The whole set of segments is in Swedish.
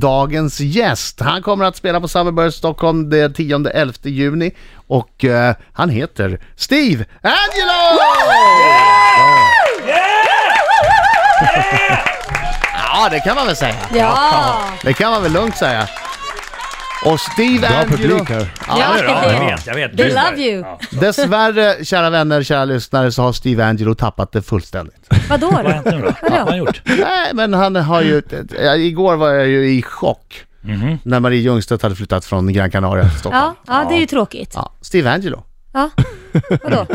Dagens gäst, han kommer att spela på Summerburst Stockholm den 10-11 juni och eh, han heter Steve Angelo! Ja, det kan man väl säga. Ja! Det kan man väl lugnt säga. Och Steve Bra Angelo... publik här. Ja, Ja, jag vet, jag vet. They Du- love you. Ja. Dessvärre, kära vänner, kära lyssnare, så har Steve Angelo tappat det fullständigt. Vadå Vad har då? hänt nu då? Vad har han gjort? Nej, men han har ju... ja, Igår var jag ju i chock Mhm. när Marie Ljungstedt hade flyttat från Gran Canaria till Stockholm. Ja, ja, det är ju tråkigt. Ja, Steve Angelo. Ja. Vadå?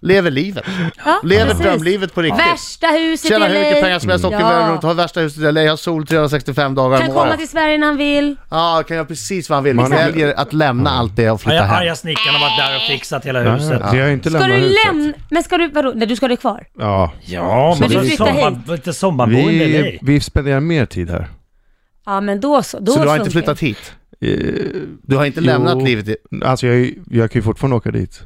Lever livet. Ja, Lever precis. drömlivet på riktigt. Värsta huset Tjänar i hur LA. mycket pengar som helst, åker Ja. världen runt, har värsta huset i LA, har sol 365 dagar Kan om komma året. till Sverige när han vill. Ja, kan göra precis vad han vill. Man Man har- väljer att lämna allt det och Ja, flytta jag hem. arga snickaren har varit där och fixat hela huset. Vi har ju inte Ska lämnat du huset. lämna... Men ska du... Vadå? Nej, du ska ha det kvar. Ja. Ja, men du så flyttar sommar, lite sommarboende i Vi, dig. vi spenderar mer tid här. Ja, men då så. Då Så du har inte funkar flyttat det. hit? Eh, Du har inte Jo. lämnat livet? i- Alltså jag, är ju- jag kan ju fortfarande åka dit.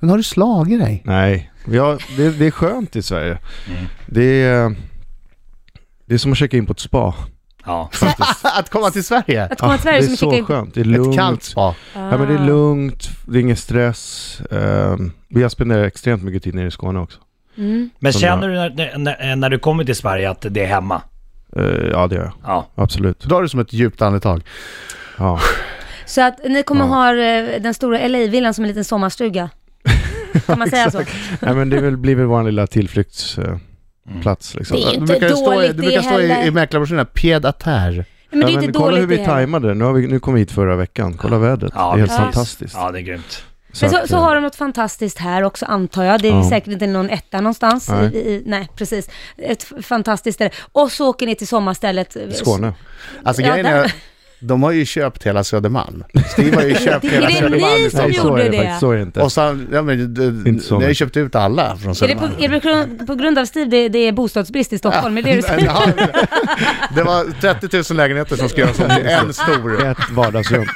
Men har du slagit dig? Nej, vi har, det, det är skönt i Sverige. Mm. Det, är, det är som att checka in på ett spa. Ah, Ja. att komma till Sverige? Att komma till det Sverige som är så skönt. Det är lugnt. Ett kallt spa. Ja, men det Ah. är lugnt, det är ingen stress. Ehm, vi har spenderat extremt mycket tid nere i Skåne också. Mm. Men Som känner du när, när, när du kommer till Sverige att det är hemma? Eh, ja, det gör jag. Ja. Absolut. Drar du som ett djupt andetag. Ja. Så att ni kommer Ja. ha eh, den stora LA-villan som en liten sommarstuga. Kan man säga så? Nej, men det väl, blir väl vår lilla tillflyktsplats. Mm. liksom. Det är ju Du inte brukar ju stå, i- dåligt du brukar det stå i, heller. i mäklarbroschyrerna, pied à terre. Men det är ju Ja, inte kolla hur dåligt vi det heller. tajmade det. Nu, har vi, nu kom vi hit förra veckan. Kolla vädret. Ja, det är helt precis. fantastiskt. Ja, det är grymt. Men så, att, så eh, har de något fantastiskt här också antar jag. Det är Ja. säkert inte någon etta någonstans. Nej. Nej. I, i, nej, precis. Ett f- fantastiskt ställe. Och så åker ni till sommarstället. eh, Skåne. Alltså Ja, grejen är, där. de har ju köpt hela Södermalm. Steve har ju köpt Det- hela är det Södermalm. ni i Stockholm. som Nej, så gjorde är det, det. faktiskt. Så är det inte. Och sen, ja men, du, Inte så ni har ju mycket. köpt ut alla från Är det, på, Södermalm. är det på grund- på grund av Steve det, det är bostadsbrist i Stockholm? Är det det du säger? Ja, det var 30 000 lägenheter som ska göras om till Mm. en stor. Ett vardagsrum.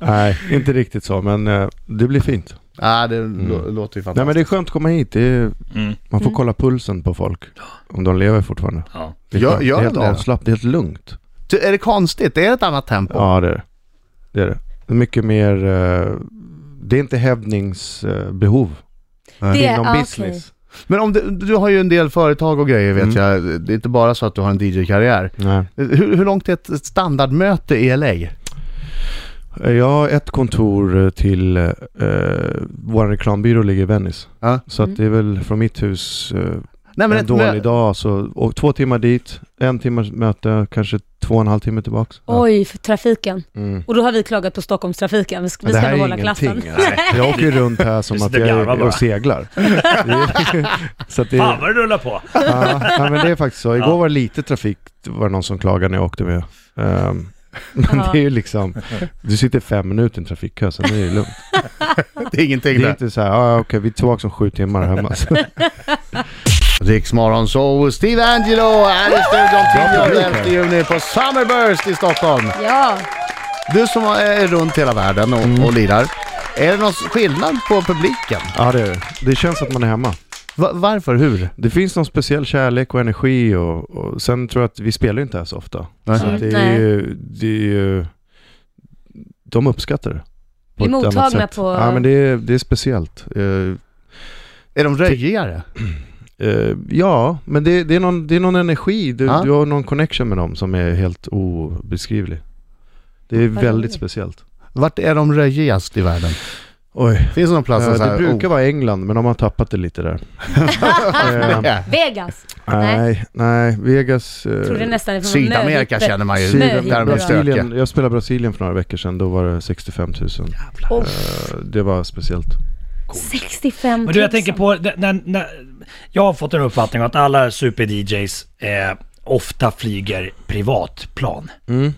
Nej, inte riktigt så, men eh, det blir fint. Ja, det lå- låter ju Mm. Nej, men fantastiskt. det är skönt att komma hit. Det är, Mm. man får kolla pulsen på folk, om de lever fortfarande. Ja. Det är, Gör- skönt. gör det är de helt det? avslappnat, det är helt lugnt. Du, Är det konstigt? Är det ett annat tempo? Ja, det är det. Det är det. Det är mycket mer... eh, det är inte hävdningsbehov Det är- inom ah, okej. business. Men om du, du har ju en del företag och grejer vet Mm. jag. Det är inte bara så att du har en DJ-karriär. Nej. Hur, hur långt är ett ett standardmöte i LA? Jag har ett kontor eh, till eh, vår reklambyrå ligger i Venice. Ja. Så Mm. att det är väl från mitt hus eh, Nej, men en ett dålig mö- dag så, och två timmar dit, en timmars möte, kanske två och en halv timme tillbaks. Oj, för trafiken. Mm. Och då har vi klagat på Stockholmstrafiken. Vi ska, vi Men det ska här nog är hålla klassen. ingenting. Nej. Jag åker ju runt här som Du att sitter och jag garvar är bara. och seglar. så att det, Fan vad det rullar på! ja, ja, men det är faktiskt så. Igår Ja. var det lite trafik, det var någon som klagade när jag åkte med. Ehm, men Ja. det är ju liksom, du sitter fem minuter i en trafikkö, sen är det ju lugnt. Det är ingenting Det är där. inte så här, ah, okej vi är tillbaka om sju timmar hemma. Så. Riksmorgon så Steve Angelo är i Bra studion 10 publik här. 11 juni på Summerburst i Stockholm. Ja. Du som är runt hela världen och, och lirar. Är det någon skillnad på publiken? Ja det är det. Det känns att man är hemma. Va- varför? Hur? Det finns någon speciell kärlek och energi och, och sen tror jag att vi spelar ju inte här så ofta. Nej. Så att det Mm. Nej. är ju, det är ju, de uppskattar det. Blir ett annat mottagna sätt. på- Ja men det är, det är speciellt. Eh, Är de röjigare? eh, ja, men det, det, är någon, det är någon energi, du, Ja. du har någon connection med dem som är helt obeskrivlig. Det är Vad väldigt roligt. speciellt. Vart är de röjigast i världen? Oj, Finns det någon plats eh, som så det här, brukar oh, vara England men de har tappat det lite där. Ah, Eh, det är Vegas. nej, nej, Vegas... eh, Trodde nästan det var Sydamerika möhippe. känner man ju. Sydamerika. Där de är stökiga. Brasilien, jag spelade Brasilien för några veckor sedan, då var det 65 000. Oh, Eh, Det var speciellt. 65 000. Men du, jag tänker på... det- När, när, jag har fått en uppfattning att alla super-DJs eh, ofta flyger privatplan.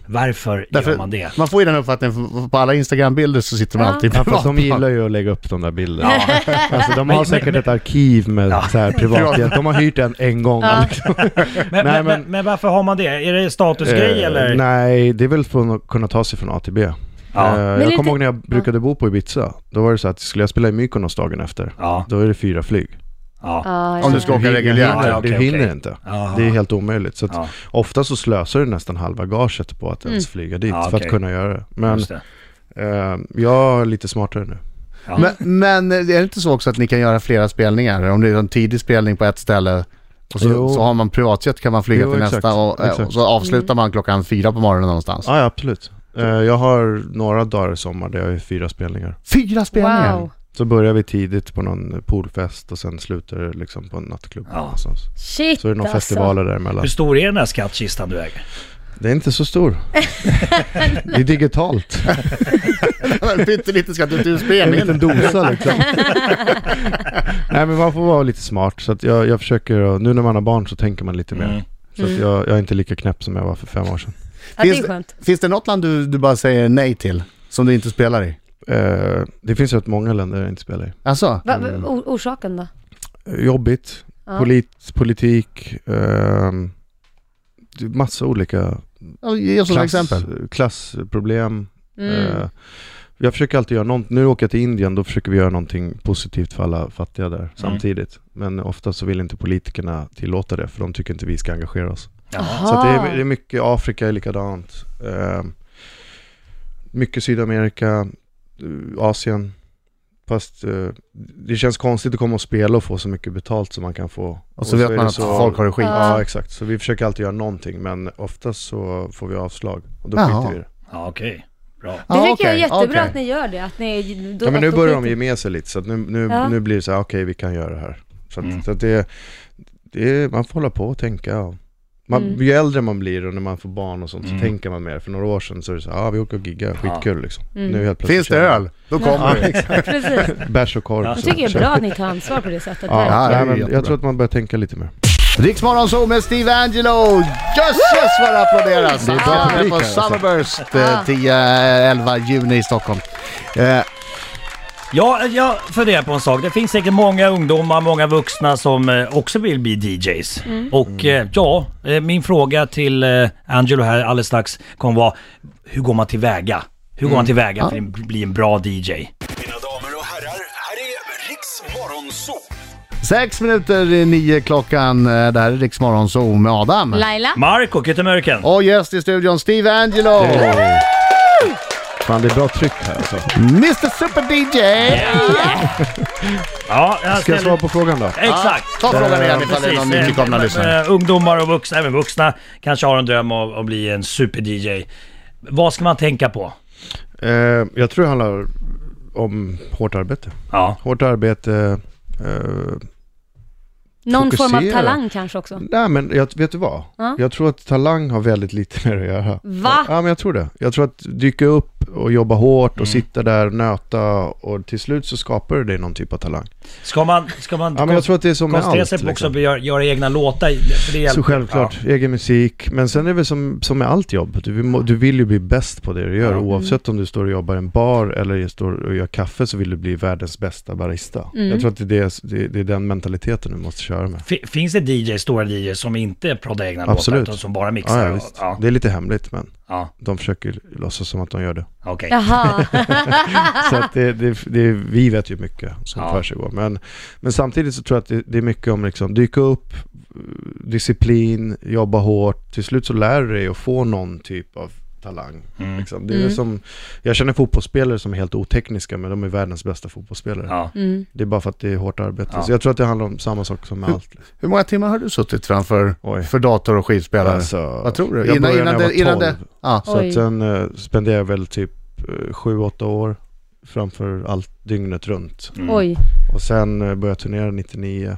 Varför Därför- gör man det? Man får ju den uppfattningen, för- för på alla Instagram-bilder så sitter de Ja. alltid i Ja, fast de privatplan. gillar ju att lägga upp de där bilderna. Ja. Alltså, de Men- har säkert men- ett arkiv med Ja. så här privatjet. De har hyrt en en gång. Ja. liksom. Men, Nej, men, men, men- varför har man det? Är det statusgrej Eh, eller? Nej, det är väl för att kunna ta sig från A till B. Ja. Eh, Men är det jag kommer inte- ihåg när jag brukade bo på Ibiza. Då var det så att skulle jag spela i Mykonos dagen efter, Ja. då är det fyra flyg. Ja. Ja, Om ja, du ska ja. åka hinner- reguljärt. hinner- Ja, okej, Du okej. hinner inte. Jaha. Det är helt omöjligt. Så att Ja. Ofta så slösar du nästan halva gaget på Mm. att ens flyga dit Ja, för att okej. kunna göra det. Men Just det. eh, jag är lite smartare nu. Ja. Men, men är det inte så också att ni kan göra flera spelningar? Om det är en tidig spelning på ett ställe och så, Jo. så har man privatjet kan man flyga Jo, till exakt, nästa och, eh, exakt. och så avslutar man klockan fyra på morgonen någonstans. Ja, ja absolut. Eh, jag har några dagar i sommar där jag är fyra spelningar. Fyra spelningar! Wow. Så börjar vi tidigt på någon poolfest och sen slutar det liksom på en nattklubb Ja. någonstans. Shit Så är det någon alltså. festivaler däremellan. Hur stor är den här skattkistan du äger? Det är inte så stor. det är digitalt. Pyttelite ska du till En spelningen. liten dosa liksom. Nej men man får vara lite smart. Så att jag, jag försöker, att- nu när man har barn så tänker man lite mer. Mm. Så att jag, jag är inte lika knäpp som jag var för fem år sedan. Ja, det Finns är skönt. Finns det något land du, du bara säger nej till? Som du inte spelar i? Eh, det finns rätt många länder jag inte spelar i. Alltså? Va, Mm. va, or- orsaken då? Jobbigt, Ja. polit, politik, ehm, det är massa olika Ja, Ge oss några exempel. klassproblem. Mm. Eh, jag försöker alltid göra någonting, nu åker jag till Indien, då försöker vi göra någonting positivt för alla fattiga där Mm. samtidigt. Men ofta så vill inte politikerna tillåta det, för de tycker inte vi ska engagera oss. Ja. Så att det, Aha. är, det är mycket, Afrika är likadant. Eh, mycket Sydamerika, eh, Asien. Fast eh, det känns konstigt att komma och spela och få så mycket betalt som man kan få. Och så vet är man det att folk har det skit. Ja exakt, så vi försöker alltid göra någonting men oftast så får vi avslag och då Jaha. skiter vi i det. Ja, okej. Bra. Det Ja, tycker jag okej, är jättebra okej. att ni gör det. Att ni, då, Ja men nu att börjar skiter- de ge med sig lite så att nu, nu, Ja. nu blir det så här, okej vi kan göra det här. Så att, Mm. så att det, det, man får hålla på och tänka. Och man, Mm. Ju äldre man blir och när man får barn och sånt Mm. så tänker man mer. För några år sedan så är det så här, ah, vi åker och giggar, skitkul liksom. Mm. Nu helt plötsligt Finns det känner man- öl? Då kommer vi. Precis. Bärs och korv. Ja. Jag så tycker det är känner- bra att ni tar ansvar på det sättet. Ja, det är nej, men jättebra. jag tror att man börjar tänka lite mer. Riksmorgon så med Steve Angelo! Jösses vad det applåderas! Det är bra Han är publik på här, alltså. Summerburst eh, Ja. 10-11 juni i Stockholm. Eh, Ja, jag funderar på en sak. Det finns säkert många ungdomar, många vuxna som eh, också vill bli DJs. Och eh, Mm. ja, eh, min fråga till eh, Angelo här alldeles strax kommer vara, hur går man tillväga? Hur Mm. går man tillväga för att bli en bra DJ? Mina damer och herrar, här är Riks Morgonzoo! Sex minuter i nio klockan. Eh, Det här är Riksmorgon så med Adam. Laila? Marco Kyttemörken! Och gäst i studion Steve Angelo! Fan det är bra tryck här alltså. Mr Super DJ! Ja, jag Ska jag ställer- svara på frågan då? Exakt! Ta frågan igen ifall det är Precis, någon eh, nytillkomna eh, lyssnare. eh, Ungdomar och vuxna, även vuxna, kanske har en dröm om att bli en super-DJ. Vad ska man tänka på? Eh, jag tror det handlar om hårt arbete. Ja. Hårt arbete, eh, Någon form av fokusera. talang kanske också? nej men jag, vet du vad? Ja. Jag tror att talang har väldigt lite med det att göra. Va? Ja men jag tror det. Jag tror att dyka upp och jobba hårt och Mm. sitta där och nöta och till slut så skapar du dig någon typ av talang. Ska man, ska man Ja men jag tror att det är som med koncentrera sig allt. på också Liksom. att göra, göra egna låtar? För det hjälper. Så självklart, egen musik. Men sen är det väl som, som med allt jobb, du, vill må- du vill ju bli bäst på det du gör. Ja. Mm. Oavsett om du står och jobbar i en bar eller står och gör kaffe så vill du bli världens bästa barista. Mm. Jag tror att det är, det, det, det är den mentaliteten du måste köra med. Fi- Finns det DJ, stora DJ som inte proddar egna låtar Absolut. utan som bara mixar? Ja, ja, och- visst. ja, Det är lite hemligt men ja, de försöker låtsas som att de gör det. okej. Jaha. Så att det, det, det, vi vet ju mycket som Ja. ja. försiggår. Men, men samtidigt så tror jag att det, det är mycket om liksom dyka upp, eh, disciplin, jobba hårt. Till slut så lär du dig att få någon typ av talang. Liksom. Det är Mm. som, jag känner fotbollsspelare som är helt otekniska men de är världens bästa fotbollsspelare. Ja. Mm. Det är bara för att det är hårt arbete. Ja. Så jag tror att det handlar om samma sak som med Hur- allt. liksom. Hur många timmar har du suttit framför Oj. för dator och skivspelare? Alltså, Vad tror du? Jag började när jag var innan 12. det- Ja. Så Oj. att sen eh, spenderade jag väl typ 7-8 år framför allt dygnet runt. Mm. Oj. Och sen eh, började jag turnera 99.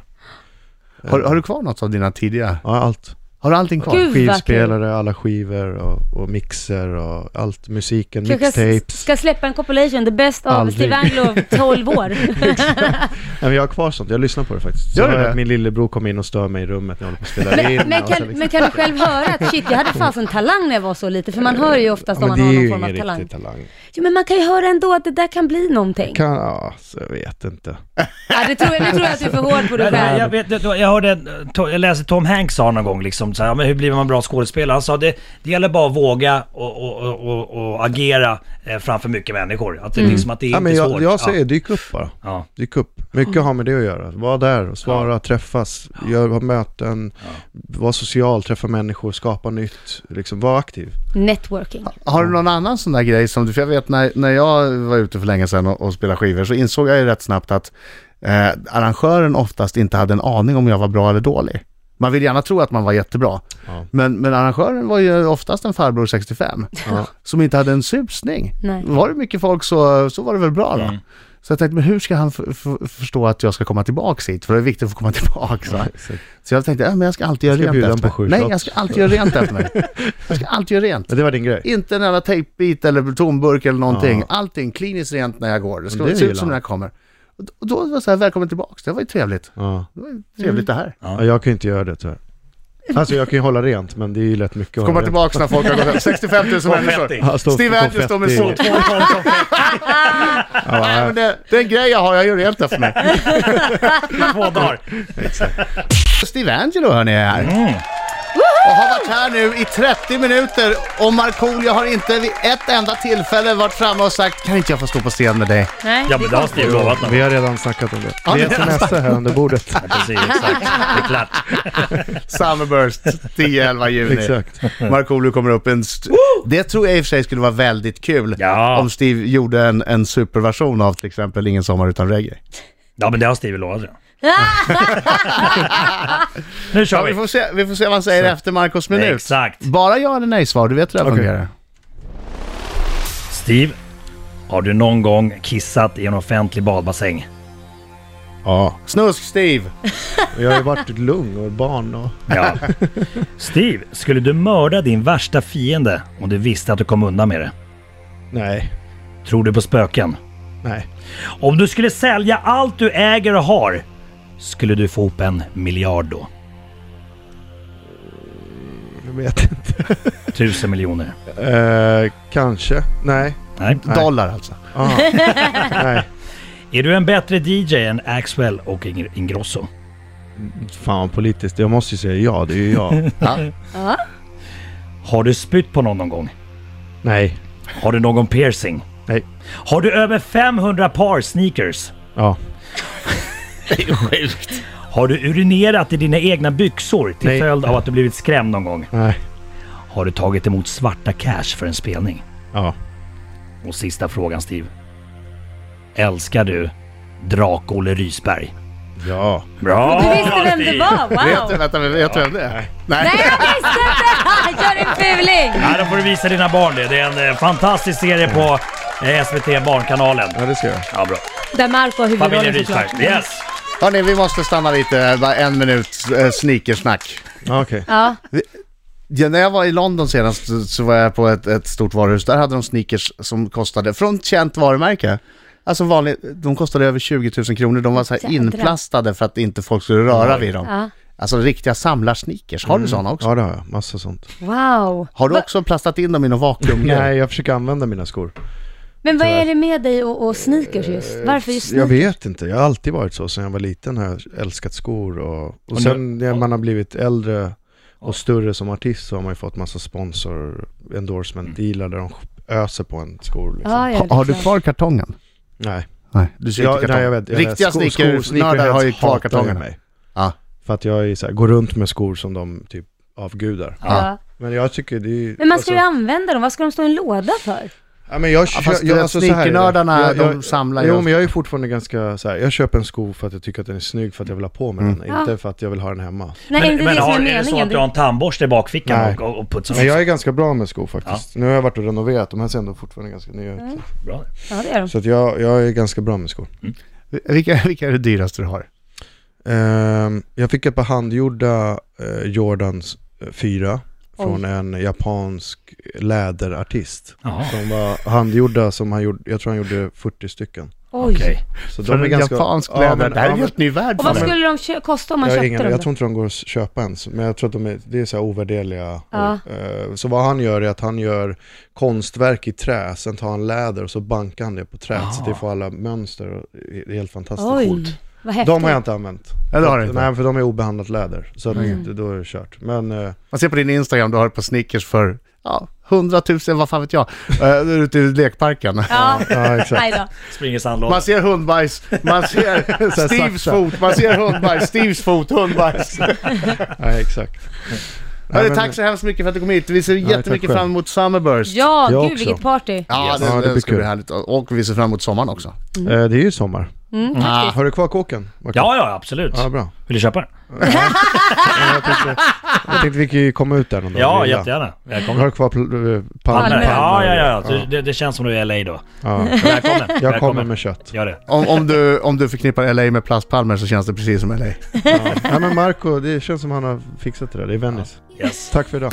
Eh, Har, har du kvar något av dina tidiga? Ja, allt. Har du allting kvar? Gud. vad kul. Skivspelare, alla skivor och, och mixer och allt. Musiken, Kanske mixtapes. ska släppa en compilation, the best av Aldrig. Steve Anglo, 12 år. Nej, men jag har kvar sånt. Jag lyssnar på det faktiskt. Gör Sen du har jag- det? Min lillebror kom in och stör mig i rummet när jag håller på att spela in. Men, men, och sen kan, liksom- men kan du själv höra att shit, jag hade fasen talang när jag var så liten, för man hör ju Ja, oftast om men man det har är någon ju form ingen av talang. riktig talang. Jo, men man kan ju höra ändå att det där kan bli någonting. Kan, ja, så jag vet inte. Ja, det tror jag, nu tror jag att du är för hård på dig Men, eh, själv. Jag, vet, jag hörde, jag läste Tom Hanks sa någon gång liksom, liksom så här, "Ja, men hur blir man bra skådespelare? Han sa det, det gäller bara att våga och, och, och, och, och agera eh, framför mycket människor. Att det, Mm. liksom, att det är Ja, inte men svårt. jag, Ja. jag säger, dyk upp bara. Ja. Dyk upp. Mycket har med det att göra. Var där och svara, träffas, gör, ha möten, var social, träffa människor, skapa nytt. Liksom, var aktiv. Networking. Har du någon annan sån där grej som du, för jag vet när, när jag var ute för länge sedan och, och spelade skivor så insåg jag ju rätt snabbt att eh, arrangören oftast inte hade en aning om jag var bra eller dålig. Man vill gärna tro att man var jättebra, Ja. men, men arrangören var ju oftast en farbror 65 som inte hade en susning. Nej. Var det mycket folk så, så var det väl bra då. Mm. Så jag tänkte, men hur ska han f- f- förstå att jag ska komma tillbaks hit? För det är viktigt att få komma tillbaks. Va? Så jag tänkte, ja, men jag ska alltid göra Ska jag rent bjuda efter honom mig. på sju Nej, shots? jag ska alltid göra rent efter mig. Jag ska alltid göra rent. Men det var din grej. Inte en enda tejpbit eller tomburk eller någonting. Ja. Allting kliniskt rent när jag går. Det ska Det se ut gillar som när han. jag kommer. Och då- Och då var det så här, välkommen tillbaks. Det var ju trevligt. Ja. Det var ju trevligt det här. Ja, jag kan ju inte göra det tyvärr. Alltså jag kan ju hålla rent, men det är ju lätt mycket att Komma hålla rent. tillbaks när folk har gått hem. 65 000 människor. Ja, stå- Steve stå Andrews står med fett i- så två Nej, men det, det är en grej jag har, jag gör rent efter mig. Två dagar. Steve Angelo hörni är Mm. här. Och har varit här nu i 30 minuter och Markoolio har inte vid ett enda tillfälle varit framme och sagt kan inte jag få stå på scen med dig? Nej, Ja, det men är det har konstigt. Steve lovat någon. Vi har redan snackat om det. Ja, Vi det har smsar här under bordet. Precis, exakt. Det är klart. Summerburst 10-11 juni. Exakt. Markoolio kommer upp en... St- det tror jag i och för sig skulle vara väldigt kul Ja. om Steve gjorde en, en superversion av till exempel Ingen sommar utan reggae. Ja, men det har Steve lovat redan. Nu Ja, kör vi, vi. får se, vi får se vad han säger efter Marcos minut. Exakt. Bara ja eller nej-svar, du vet hur det här Okej. fungerar. Steve, har du någon gång kissat i en offentlig badbassäng? Ja, Snusk Steve! och jag har ju varit lugn och barn och... Ja. Steve, skulle du mörda din värsta fiende om du visste att du kom undan med det? Nej, Tror du på spöken? nej. Om du skulle sälja allt du äger och har, skulle du få upp en miljard då? Jag vet inte. Tusen miljoner? Eh, kanske. Nej. Nej. Dollar alltså. Ah. nej. Är du en bättre DJ än Axwell och Ing- Ingrosso? Fan vad politiskt. Jag måste ju säga ja, det är ju jag. Har du spytt på någon någon gång? nej. Har du någon piercing? Nej. Har du över 500 par sneakers? Ja. Har du urinerat i dina egna byxor till Nej. följd av att du blivit skrämd någon gång? Nej. Har du tagit emot svarta cash för en spelning? Ja. Och sista frågan Steve. Älskar du Drak-Olle Rysberg? Ja. Bra! Du visste vem det var, Vet du, wow! vänta, vet du vem det är? Nej. Nej, jag visste inte! Jag är en fuling! Ja, då får du visa dina barn det. Det är en eh, fantastisk serie på eh, SVT Barnkanalen. Ja, det ska jag. Ja, bra. Där Marco har Familjen huvudrollen såklart. Rysberg. Yes! Hörni, vi måste stanna lite, bara en minut eh, sneakersnack. Ja, Okej. Ja, Ja, när jag var i London senast så- så var jag på ett, ett stort varuhus. Där hade de sneakers som kostade, från ett känt varumärke. Alltså vanligt, de kostade över 20 000 kronor. De var så här Jädrar. inplastade för att inte folk skulle röra vid dem. ja. Alltså riktiga samlarsneakers. Har du sådana också? Mm. Ja, det har jag. Massa sånt. Wow! Har du också plastat in dem i någon vakuumgrej? Nej, jag försöker använda mina skor. Men vad är det med dig och, och sneakers just? Varför just Jag sneakers? vet inte. Jag har alltid varit så. Sen jag var liten har jag älskat skor. Och, och sen när man har blivit äldre och större som artist så har man ju fått massa sponsor endorsement dealar där de öser på en skor. Liksom. Ja, ja, det Ha, är har du klart. kvar kartongen? Nej. Nej, du ser Ja, inte kartongen. nej, jag vet, jag vet. Riktiga Sko- skor- sneakersnördar har ju kvar hatar kartongerna. mig. Ja. För att jag är så här, går runt med skor som de typ avgudar. Ja. Men jag tycker det är ju- Men man ska ju alltså, använda dem, vad ska de stå i en låda för? ja, men jag, Ja, kö- fast du jag, vet, alltså, så här är det. sneakernördarna, Jag- jag- de samlar ju Jo oss. men jag är fortfarande ganska så här. jag köper en sko för att jag tycker att den är snygg för att jag vill ha på Mm. mig den, Ja. inte för att jag vill ha den hemma. Nej, Men, inte men det har, som är är det så meningen. att du har en tandborste i bakfickan Nej. och, och, och putsar Men upp? jag är ganska bra med skor faktiskt. Nu har jag varit och renoverat, de här ser ändå fortfarande ganska nya ut. Bra. Ja, det är de. Så att jag, jag är ganska bra med skor. Vilka, vilka är det dyraste du har? Ehm, jag fick ett par handgjorda eh, Jordans 4 från en japansk läderartist. Jaha, De var handgjorda som han gjorde, jag tror han gjorde 40 stycken. Oj. okej. Så För en japansk ja, läder. men- det här är ja, en men- helt ny värld Och för vad mig. skulle de kö- kosta om man jag, har köpte ingen, dem? jag då? tror inte de går att köpa ens, men jag tror att de är, det är så här ovärderliga. Ja. Eh, Så vad han gör är att han gör konstverk i trä, sen tar han läder och så bankar han det på träet. Så det får alla mönster och det är helt fantastiskt Oj. coolt. Vad häftigt. De har jag inte använt. Ja, det har du inte. Nej, för de är obehandlat läder. Så att det- då är det kört. Men eh, Man ser på din Instagram, du har det på Snickers för ja, 100 000, vad fan vet jag. Eh, Du är ute i lekparken. Ja, ja, exakt. nej då. Springer sandlådan. Man ser hundbajs, man ser Steves saxa. fot, man ser hundbajs, Steves fot, hundbajs. Nej, exakt. Nej, Hörru, men- tack så hemskt mycket för att du kom hit. Vi ser tack jättemycket själv. fram emot Summerburst. Ja, Jag gud också. vilket party. Ja, det, Ja, det det, blir ska bli kul. härligt. Och vi ser fram emot sommaren också. Eh, Det är ju sommar. Mm, Ah, faktiskt. har du kvar kåken? Marco? Ja, ja, absolut. Ja, bra. Vill du köpa den? Jag tänkte vi kan ju komma ut där någon dag. Ja, och grilla. jättegärna. Välkommen. Har du kvar pl- eh, palmer? Palmer. Ja, ja, ja. Du, det, det känns som du är i LA då. ja. Välkommen. Jag kommer Välkommen. med kött. Gör det. Om, om, du, om du förknippar LA med plastpalmer så känns det precis som LA. Ja. Ja, men Marco, det känns som han har fixat det där. Det är Venice. Yes. Tack för idag.